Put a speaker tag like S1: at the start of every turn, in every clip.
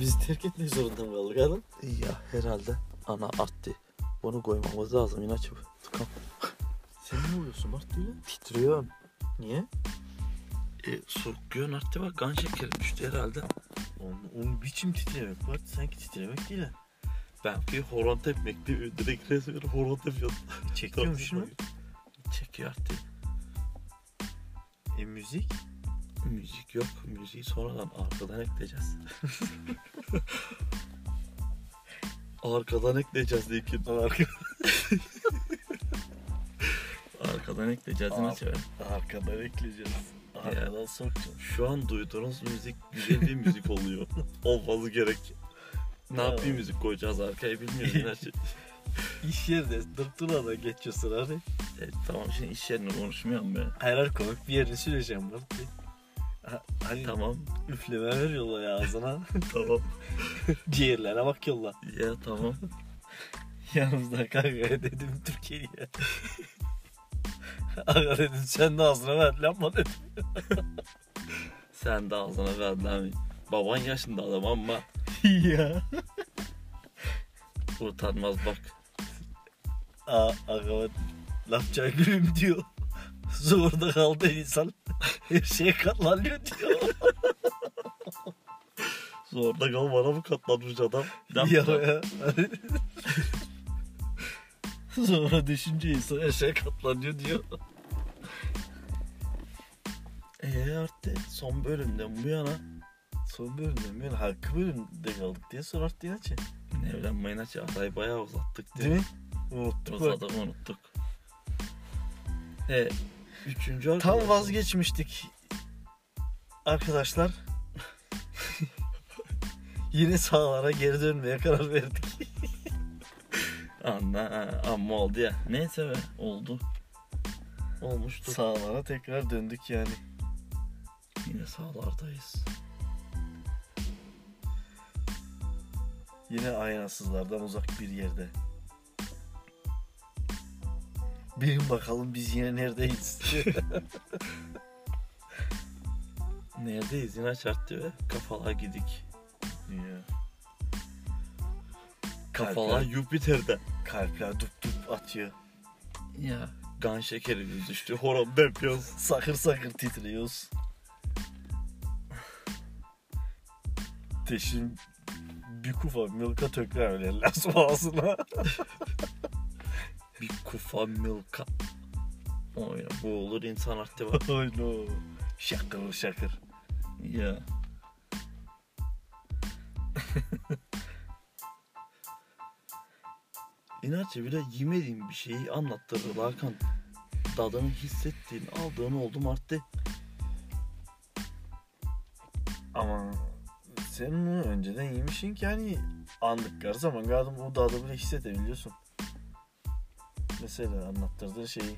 S1: Bizi terk etmek zorunda mı kaldık hanım?
S2: Ya herhalde ana arttı. Onu koymamız lazım inatçı. Tıkan
S1: Sen ne oluyorsun Mart diyor.
S2: titriyorum.
S1: Niye?
S2: E, sokuyorsun arttı bak kan şekeri düştü herhalde.
S1: Onun, onun biçim titremek Mart sanki titremek değil ha.
S2: Ben bir horon tepmek değil direkt resmen horon tepiyordum.
S1: Çekiyormuş mu?
S2: Çekiyor arttı.
S1: E müzik?
S2: Müzik yok. Müziği sonradan arkadan ekleyeceğiz. arkadan ekleyeceğiz diye kimden arka. arkadan ekleyeceğiz
S1: Ar-
S2: nasıl?
S1: Arkadan ekleyeceğiz. Arkadan sokacağız.
S2: Şu an duyduğunuz müzik güzel bir müzik oluyor. Olması gerek. Ne
S1: Ya.
S2: yapayım müzik koyacağız arkaya şey. bilmiyorum. Gerçi-
S1: İş yerinde dırtına da geçiyorsun abi.
S2: E, tamam şimdi iş yerine konuşmayalım be.
S1: Her her komik bir yerini söyleyeceğim Mart diye. Ha- Hani
S2: Tamam
S1: üfleme veriyorlar ya ağzına.
S2: tamam.
S1: Ciğerlere bak yolla.
S2: Ya tamam.
S1: Yanımda kanka dedim Türkiye'ye. Aga dedim sen de ağzına ver lan bana dedim.
S2: Sen de ağzına ver lan. Baban yaşında adam ama
S1: ya.
S2: utanmaz bak.
S1: Aa, aga ben lafça gülüm diyor. Zorda kaldı insan. Her şeye katlanıyor diyor.
S2: Zorda kalmana mı katlanmış adam?
S1: ya ya. Sonra düşünce insan her şeye katlanıyor diyor. E,
S2: Eee arttı. Son bölümden bu yana
S1: Son bölümde ben hakkı bölümde kaldık diye sorar diye açı.
S2: evlenmeyin açı arayı bayağı uzattık
S1: Değil
S2: diye.
S1: mi? Unuttuk bak.
S2: Uzadık unuttuk. He. Üçüncü
S1: Tam
S2: arkadaş-
S1: vazgeçmiştik arkadaşlar. Yine sahalara geri dönmeye karar verdik.
S2: Anla, amma oldu ya. Neyse be oldu. Olmuştu.
S1: Sahalara tekrar döndük yani.
S2: Yine sağlardayız.
S1: Yine aynasızlardan uzak bir yerde. Bilin bakalım biz yine neredeyiz.
S2: Neredeyiz yine çarptı be. Kafalar gidik.
S1: Ya.
S2: Kafalar Jüpiter'de.
S1: kalpler dup dup atıyor.
S2: Ya. Gan şekerimiz düştü. Horon yapıyoruz.
S1: Sakır sakır titriyoruz. Teşin bir kufa milka tökler lazım ağzına.
S2: Bir kufa milka. Oy, bu olur insan arttı bak.
S1: Ay no. Şakır şakır.
S2: ya. İnatçı bile yemediğin bir şeyi anlattırır Hakan. Tadını hissettiğin, aldığın oldu Mart'te.
S1: Ama sen onu önceden yemişsin ki hani andıkları zaman galiba o dağda bile hissedebiliyorsun. Mesela anlattırdığı şeyi.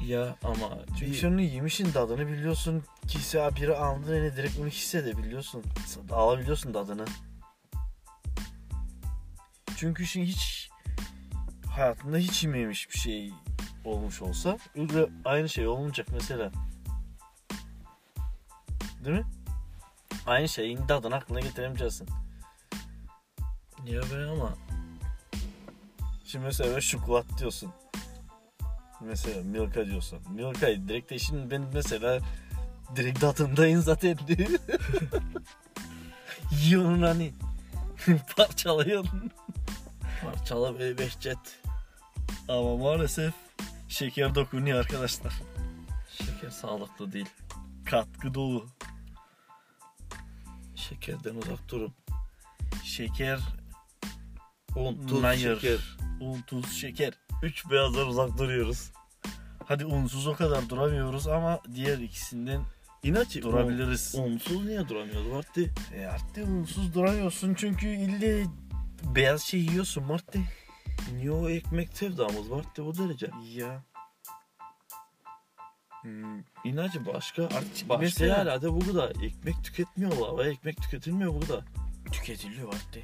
S2: Ya ama
S1: Çünkü
S2: bir-
S1: sen onu yemişsin tadını biliyorsun. Kişi biri andı ne direkt onu hissedebiliyorsun. Alabiliyorsun tadını. Çünkü şimdi hiç hayatında hiç yememiş bir şey olmuş olsa öyle aynı şey olmayacak mesela. Değil mi? Aynı şeyin tadını aklına getiremeyeceksin.
S2: ya be ama
S1: Şimdi mesela şokolat diyorsun. Mesela Milka diyorsun. Milka'yı direkt de şimdi ben mesela direkt tadındayım zaten. Yiyorsun hani. Parçalıyorsun.
S2: parçala be Behçet.
S1: Ama maalesef şeker dokunuyor arkadaşlar.
S2: Şeker sağlıklı değil.
S1: Katkı dolu.
S2: Şekerden uzak durun.
S1: Şeker,
S2: Un, tuz,
S1: Hayır.
S2: şeker.
S1: un, tuz, şeker.
S2: Üç beyazdan uzak duruyoruz.
S1: Hadi unsuz o kadar duramıyoruz ama diğer ikisinden
S2: İnatçı
S1: durabiliriz.
S2: un- unsuz niye duramıyordu Mart'te?
S1: E artık unsuz duramıyorsun çünkü ille beyaz şey yiyorsun Marti.
S2: Niye o ekmek sevdamız Mart'te bu derece?
S1: Ya. Hmm,
S2: İnatçı başka
S1: Artık
S2: başka
S1: mesela-
S2: yerlerde bu kadar ekmek tüketmiyorlar ve ekmek tüketilmiyor bu kadar.
S1: Tüketiliyor Marti.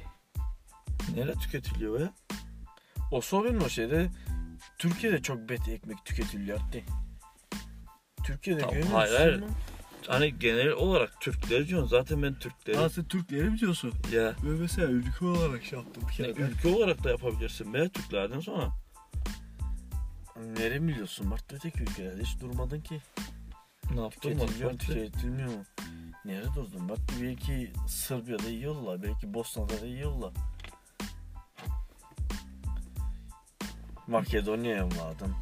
S2: Nerede tüketiliyor be?
S1: O sorun o şeyde Türkiye'de çok bet ekmek tüketiliyor Marti. Türkiye'de
S2: Tamam,
S1: görüyor
S2: hayır,
S1: musun
S2: hayır.
S1: bunu?
S2: Hani genel olarak Türkleri diyorsun. Zaten ben Türkleri.
S3: Aa sen Türkleri mi diyorsun?
S2: ya
S3: Ve mesela ülke olarak şey yaptım bir
S2: ne,
S3: kere. ben.
S2: ülke olarak da yapabilirsin be Türklerden sonra.
S1: Nereye biliyorsun? Mart öteki ülkelerde hiç durmadın ki.
S2: Ne yaptın mı?
S1: Tüketiliyor mu? Tüketilmiyor mu? Nerede durdun? Bak belki Sırbiya'da yiyorlar. Belki Bosna'da da yiyorlar. Makedonya'ya mı vardın?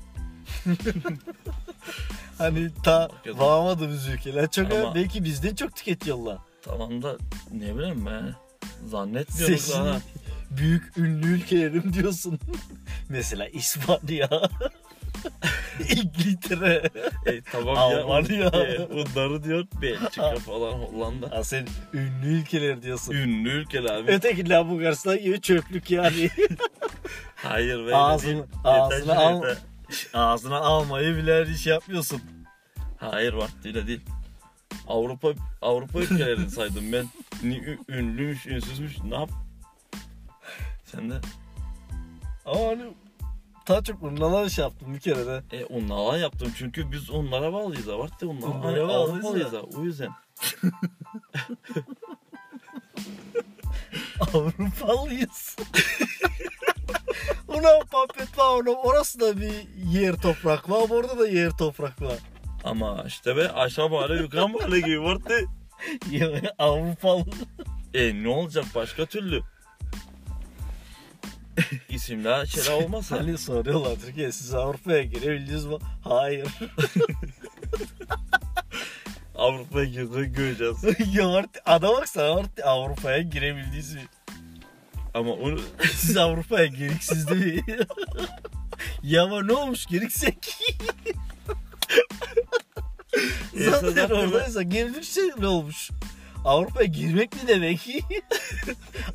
S1: hani ta
S2: Makedonya.
S1: bağlamadığımız ülkeler çok
S2: Ama-
S1: belki bizden çok tüketiyorlar.
S2: Tamam da ne bileyim ben. Zannetmiyoruz
S1: Sesini
S2: ha.
S1: büyük ünlü ülkelerim diyorsun. Mesela İspanya. İngiltere.
S2: E, tamam
S1: Almanya.
S2: ya. E, onları diyor Belçika falan Hollanda.
S1: Ha, sen ünlü ülkeler diyorsun.
S2: Ünlü ülkeler abi.
S1: Ötekiler Bulgaristan gibi çöplük yani.
S2: Hayır be. öyle
S1: Ağzını-
S2: değil.
S1: ağzını
S2: Yeter,
S1: al-
S2: yeter.
S1: Ağzına almayı bile iş yapmıyorsun.
S2: Hayır vaktiyle değil. Avrupa Avrupa ülkelerini saydım ben. Ni- ü- Ünlüymüş, ünsüzmüş. Ne yap? Sen de
S1: Ama hani daha çok bundan iş yaptım bir kere de.
S2: e, onlara yaptım çünkü biz onlara bağlıyız Avart onlara.
S1: Onlara
S2: Hani
S1: bağlıyız
S2: Avrupalıyız
S1: ya.
S2: ha, O yüzden.
S1: Avrupalıyız. Ulan Papet var oğlum. Orası da bir yer toprak var. Orada da yer toprak var.
S2: Ama işte be aşağı mahalle yukarı mahalle gibi vardı.
S1: Ya, Avrupalı.
S2: E ne olacak başka türlü? İsimler şeyler olmaz yani.
S1: Hani soruyorlar Türkiye siz Avrupa'ya girebildiniz mi? Hayır.
S2: Avrupa'ya girdiğini göreceğiz.
S1: ya artık adam baksana artık Avrupa'ya girebildiniz mi?
S2: Ama onu
S1: Siz Avrupa'ya gereksiz değil mi? ya ama ne olmuş gereksek?
S2: Zaten
S1: Zaten
S2: orada-
S1: oradaysa girilirse ne olmuş? Avrupa'ya girmek mi demek ki?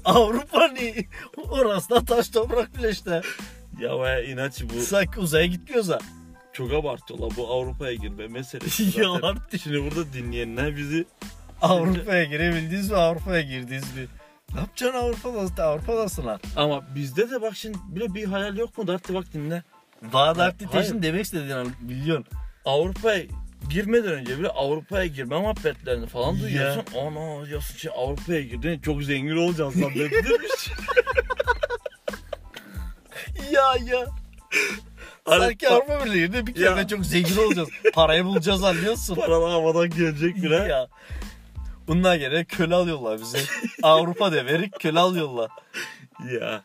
S1: Avrupa ne? Orası da taş toprak bile işte.
S2: ya baya inanç bu.
S1: Sanki uzaya gitmiyorsa.
S2: Çok abartıyorlar bu Avrupa'ya girme meselesi zaten.
S1: Ya artık.
S2: Şimdi burada dinleyenler bizi
S1: Avrupa'ya girebildiniz mi? Avrupa'ya girdiniz mi? Ne yapacaksın Avrupa'da? Avrupa'dasın lan.
S2: ama bizde de bak şimdi bile bir hayal yok mu Dart'ı bak dinle.
S1: Daha da
S2: Hayır.
S1: teşin demek istediğini an- biliyorsun.
S2: Avrupa'ya girmeden önce bile Avrupa'ya girme muhabbetlerini falan
S1: Ya.
S2: duyuyorsun. Ana diyorsun ki Avrupa'ya girdin çok zengin olacaksın zannedilmiş.
S1: Ya ya.
S2: Hani
S1: Sanki
S2: pa-
S1: Avrupa Birliği'nde bir kere
S2: Ya.
S1: çok zengin olacağız. Parayı bulacağız anlıyorsun.
S2: Paralar havadan gelecek bile.
S1: Ya. Bundan gene köle alıyorlar bizi. Avrupa deverik köle alıyorlar.
S2: Ya.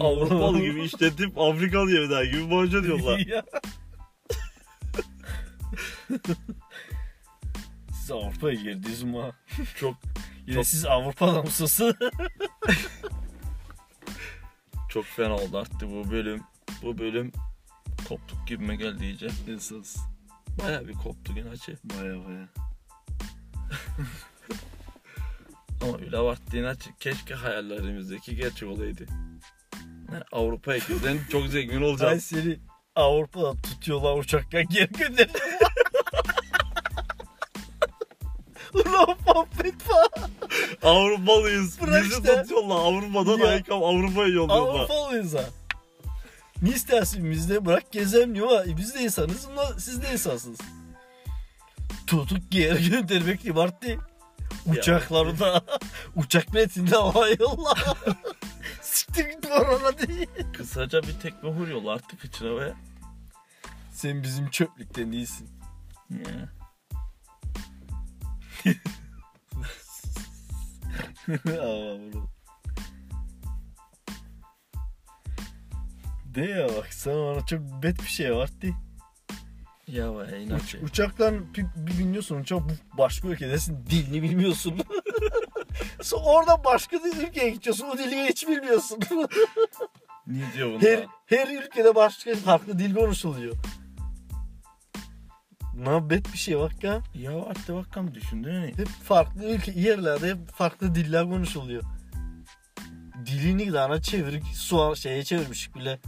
S2: Avrupalı gibi işletip Afrikalı yemeği gibi borca diyorlar.
S1: Ya. siz Avrupa'ya girdiniz mi? ha?
S2: çok
S1: Yine
S2: Çok-
S1: siz Avrupa'da mısınız?
S2: çok fena oldu artık bu bölüm. Bu bölüm koptuk gibime geldi iyice.
S1: Esas.
S2: Baya bir koptu gün açı.
S1: Baya baya.
S2: Ama öyle abarttığın açı. Keşke hayallerimizdeki gerçek olaydı. Yani Avrupa'ya giden çok zengin
S1: Ben
S2: olacağız.
S1: seni Avrupa'da tutuyorlar uçakla geri gönderiyorlar. Ulan Muhammed var.
S2: Avrupalıyız.
S1: Bırak
S2: Bizi
S1: işte.
S2: tutuyorlar. Avrupa'dan
S1: Ya.
S2: ayıkam Avrupa'ya yolluyorlar.
S1: Avrupalıyız ha. Ne istersin bizde bırak gezelim diyor ama biz de insanız ama siz de insansınız. Tutuk geri göndermek gibi arttı. Uçaklarında, uçak metinde havayla. Siktir git orana değil.
S2: Kısaca bir tekme vuruyorlar artık içine ve...
S1: Sen bizim çöplükten değilsin.
S2: Ya.
S1: Aman De ya bak sana bana çok bet bir şey var di.
S2: Ya be
S1: Uç,
S2: inatçı.
S1: uçaktan bir, bir biniyorsun uçak bu başka ülkedesin dilini bilmiyorsun. Sonra orada başka bir ülkeye gidiyorsun o dili hiç bilmiyorsun.
S2: Ne diyor bunlar?
S1: her, her ülkede başka farklı dil konuşuluyor. Ne bet bir şey bak ya.
S2: Ya artık bakalım düşündün mü?
S1: Hep farklı ülke yerlerde hep farklı diller konuşuluyor. Dilini daha çevirip su şeye çevirmişik bile.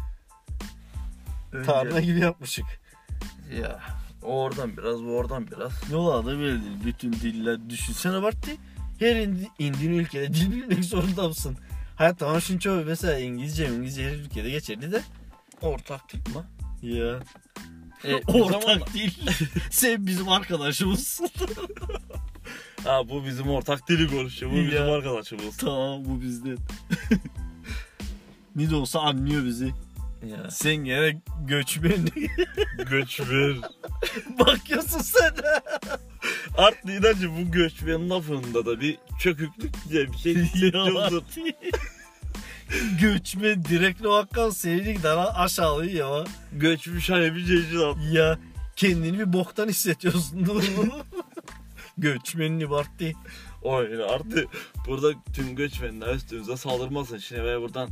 S2: Önce-
S1: Tarla gibi yapmışık.
S2: Ya oradan biraz bu oradan biraz.
S1: Yola da böyle değil. Bütün diller düşünsene bak değil. Her indi, indiğin ülkede dil bilmek zorunda mısın? Hayat tamam şimdi çoğu mesela İngilizce İngilizce her ülkede geçerli de.
S2: Ortak tutma.
S1: Ya.
S2: E, o
S1: Ortak
S2: zaman,
S1: değil. Sen bizim arkadaşımızsın.
S2: ha, bu bizim ortak dili konuşuyor. Bu
S1: Ya.
S2: bizim arkadaşımız.
S1: tamam bu bizden. ne de olsa anlıyor bizi.
S2: Ya.
S1: Sen gene göçmen.
S2: Göçmen.
S1: Bakıyorsun sen.
S2: Artık inancı bu göçmenin lafında da bir çöküklük diye bir şey hissediyordur.
S1: göçmen direkt o Hakan seni daha aşağılıyor ya.
S2: Göçmüş hani bir cecil adam.
S1: Ya kendini bir boktan hissediyorsun. Göçmenli Bartı.
S2: O yani artık burada tüm göçmenler üstümüze saldırmasın. Şimdi ben buradan.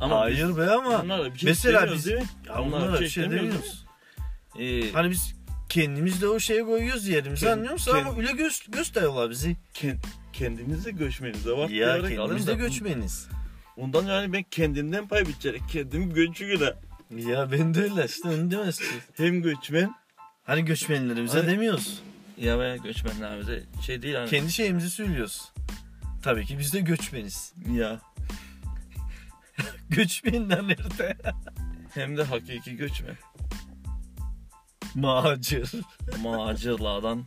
S2: Ama
S1: Hayır be
S2: Biz,
S1: ama.
S2: bunlara bir şey
S1: Mesela
S2: Mesela
S1: biz-
S2: değil mi?
S1: Ya onlara bir şey
S2: demiyoruz.
S1: demiyoruz.
S2: Ee,
S1: Hani biz kendimiz de o şeye koyuyoruz yerimizi
S2: Kend-
S1: anlıyor musun? Ama
S2: kend-
S1: öyle göz, gösteriyorlar bizi.
S2: kend, kendimize göçmenize var.
S1: Ya
S2: diyerek alayım
S1: kendimiz
S2: da
S1: de göçmeniz.
S2: Ondan yani ben kendimden pay biçerek kendim göçüyle
S1: Ya ben de öyle işte onu demezsin.
S2: hem göçmen
S1: Hani göçmenlerimize
S2: Hani-
S1: demiyoruz.
S2: ya ben göçmenlerimize şey değil hani.
S1: Kendi şeyimizi söylüyoruz. Tabii ki biz de göçmeniz.
S2: ya.
S1: Göçmenler nerede?
S2: Hem de hakiki göçmen.
S1: Macir.
S2: Macırlardan.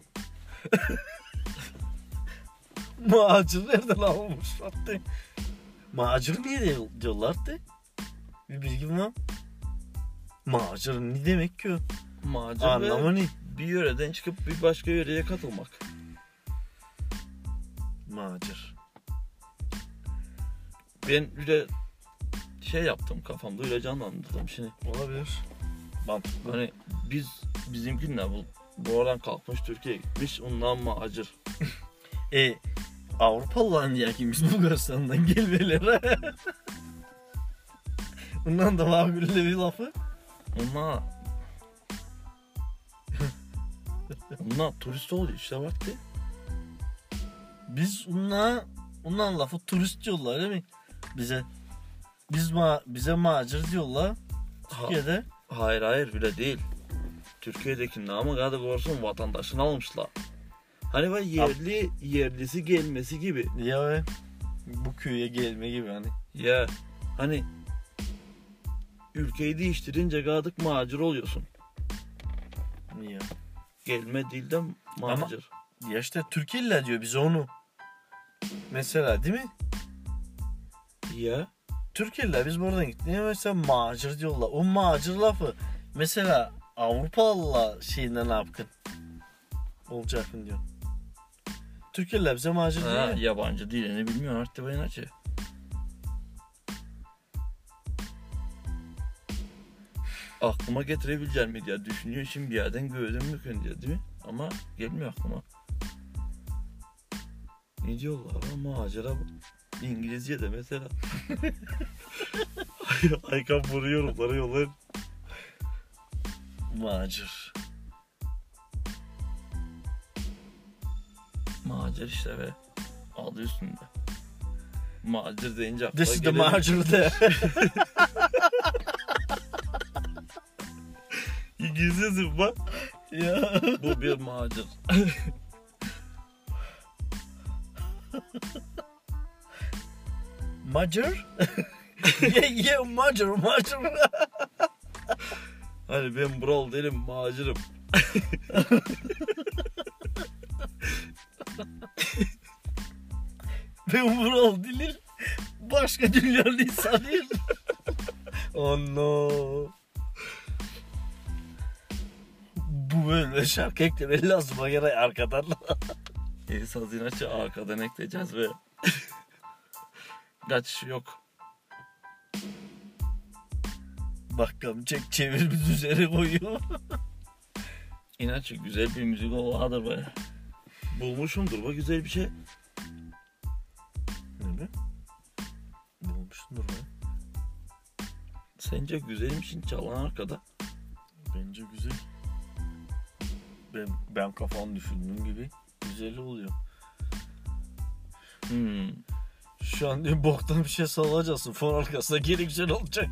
S1: Macir nereden almış? Hatta Macir niye de- diyorlardı? Bir bilgim var. Macir ne demek ki o?
S2: Macır ve
S1: Anlamı ne?
S2: bir yöreden çıkıp bir başka yöreye katılmak.
S1: Macir.
S2: Ben öyle şey yaptım kafamda öyle canlandırdım şimdi.
S1: Olabilir. Mantıklı.
S2: Hani biz bizimkinle bu bu oradan kalkmış Türkiye'ye gitmiş ondan mı acır?
S1: E Avrupalıların yakın biz Bulgaristan'dan gelmelere. Bundan da var böyle bir lafı.
S2: Onlar Onlar turist oldu işte vakti.
S1: Biz onunla, ondan lafı turist diyorlar değil mi? Bize. Biz ma bize macir diyorlar.
S2: Ha,
S1: Türkiye'de
S2: hayır hayır öyle değil. Türkiye'dekinin ama kadar olsun vatandaşını almışlar. Hani böyle yerli yerlisi gelmesi gibi.
S1: ya ve bu köye gelme gibi hani.
S2: Ya hani ülkeyi değiştirince gadık macir oluyorsun.
S1: Ya.
S2: Gelme dilden macir.
S1: ya işte Türkiye'liler diyor bize onu. Mesela değil mi?
S2: Ya
S1: Türkiye'liler biz buradan gittik. Niye mesela macir diyorlar. O macir lafı mesela Avrupalılar şeyinden ne yapkın? Olacaksın diyor. Türkiye'liler bize macir
S2: ha,
S1: diyor. ya.
S2: yabancı dilini bilmiyor artık ben acı. Aklıma getirebileceğim mi diye düşünüyor şimdi bir yerden gördüm mümkün diye değil mi? Ama gelmiyor aklıma. Ne diyorlar lan macera bu. İngilizce de mesela. Aykan bunu yorumlara yollayın.
S1: Macir.
S2: Macir işte be. Adı üstünde. Macir deyince akla
S1: This is the
S2: gelen-
S1: macir de.
S2: İngilizcesi bak.
S1: ya.
S2: Bu bir macir.
S1: Macir? ye ye macir macir.
S2: Hani ben buralı değilim macirim.
S1: Ben Vural Dilil. Başka dünyanın insanıyım. oh no. Bu böyle şarkı eklemeli lazım. Bana gerek arkadan.
S2: E, sazinaçı arkadan ekleyeceğiz ve kaç yok.
S1: Bakkam çek çevirimiz üzerine koyuyor.
S2: İnaçı güzel bir müzik oladır be. Bulmuşumdur bu güzel bir şey.
S1: Ne be? Ne olmuş Nur be?
S2: Sence güzelmişin çalan arkada.
S1: Bence güzel. Ben, ben kafam düşündüğüm gibi güzel oluyor.
S2: Hmm.
S1: Şu an diyor, boktan bir şey sallayacaksın. Fon arkasına geri güzel olacak.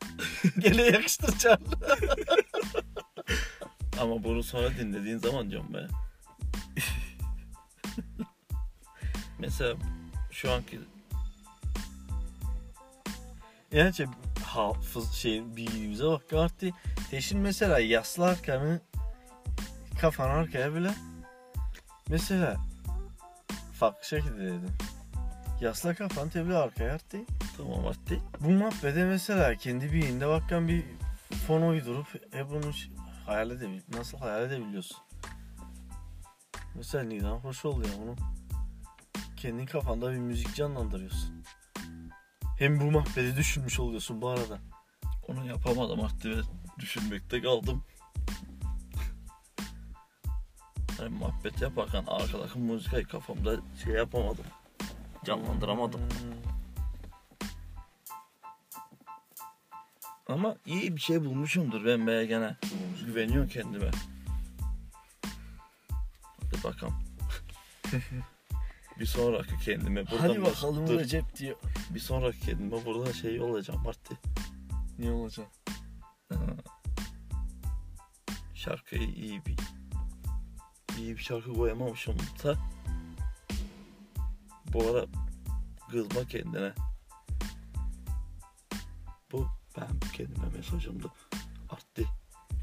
S1: Gene yakıştıracaksın.
S2: Ama bunu sonra dinlediğin zaman diyorum be. Mesela şu anki
S1: Yani şey, hafız şey bilgimize bak artık Teşin mesela yaslarken kafanı arkaya böyle mesela farklı şekilde dedim. Yasla kafanı tebli arkaya arttı.
S2: Tamam Artti.
S1: Bu muhabbete mesela kendi beyinde bakkan bir fon uydurup e bunu ş- hayal edebil nasıl hayal edebiliyorsun? Mesela neden hoş oluyor bunu? Kendi kafanda bir müzik canlandırıyorsun. Hem bu muhabbeti düşünmüş oluyorsun bu arada.
S2: Onu yapamadım Artti ve düşünmekte kaldım. Ben muhabbet yaparken arkadaki müzikayı kafamda şey yapamadım. Canlandıramadım. Ama iyi bir şey bulmuşumdur ben be gene. Güveniyorum kendime. Hadi bakalım. bir sonraki kendime buradan
S1: Hadi bakalım
S2: dur.
S1: Recep diyor.
S2: Bir sonraki kendime burada şey olacağım Marti.
S3: Niye olacak?
S2: Şarkıyı iyi bir iyi bir şarkı koyamamışım da bu ara kızma kendine. Bu ben kendime mesajımdı. Arttı.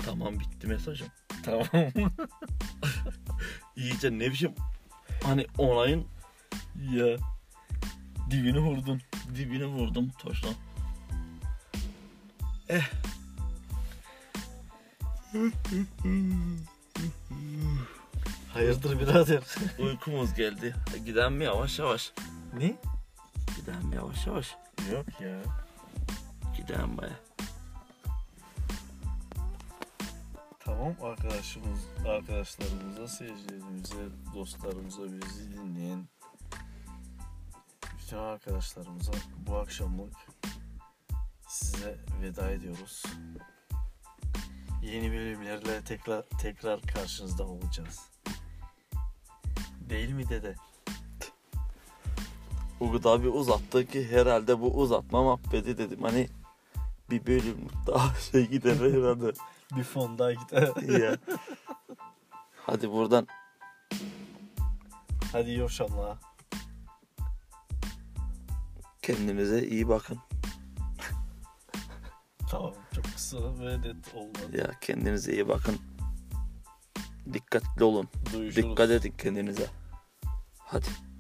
S2: Tamam bitti mesajım.
S1: Tamam.
S2: İyice ne biçim hani onayın
S1: ya. Dibini vurdun.
S2: dibine vurdum taştan. Eh.
S1: Hayırdır birader?
S2: Uykumuz geldi. Giden mi yavaş yavaş?
S1: ne?
S2: Giden mi yavaş yavaş?
S1: Yok ya.
S2: Giden baya.
S1: Tamam arkadaşımız, arkadaşlarımıza, seyircilerimize, dostlarımıza, bizi dinleyen bütün arkadaşlarımıza bu akşamlık size veda ediyoruz. Yeni bölümlerle tekrar tekrar karşınızda olacağız. Değil mi dede?
S2: O kadar bir uzattı ki herhalde bu uzatma muhabbeti dedim hani bir bölüm daha şey gider herhalde.
S1: Bir fonda gider.
S2: ya. Hadi buradan
S1: Hadi iyi akşamlar.
S2: kendinize iyi bakın.
S1: Tamam çok kısa ve net olmadı.
S2: Ya kendinize iyi bakın. Dikkatli olun.
S1: Duyuşuruz.
S2: Dikkat edin kendinize. Hadi.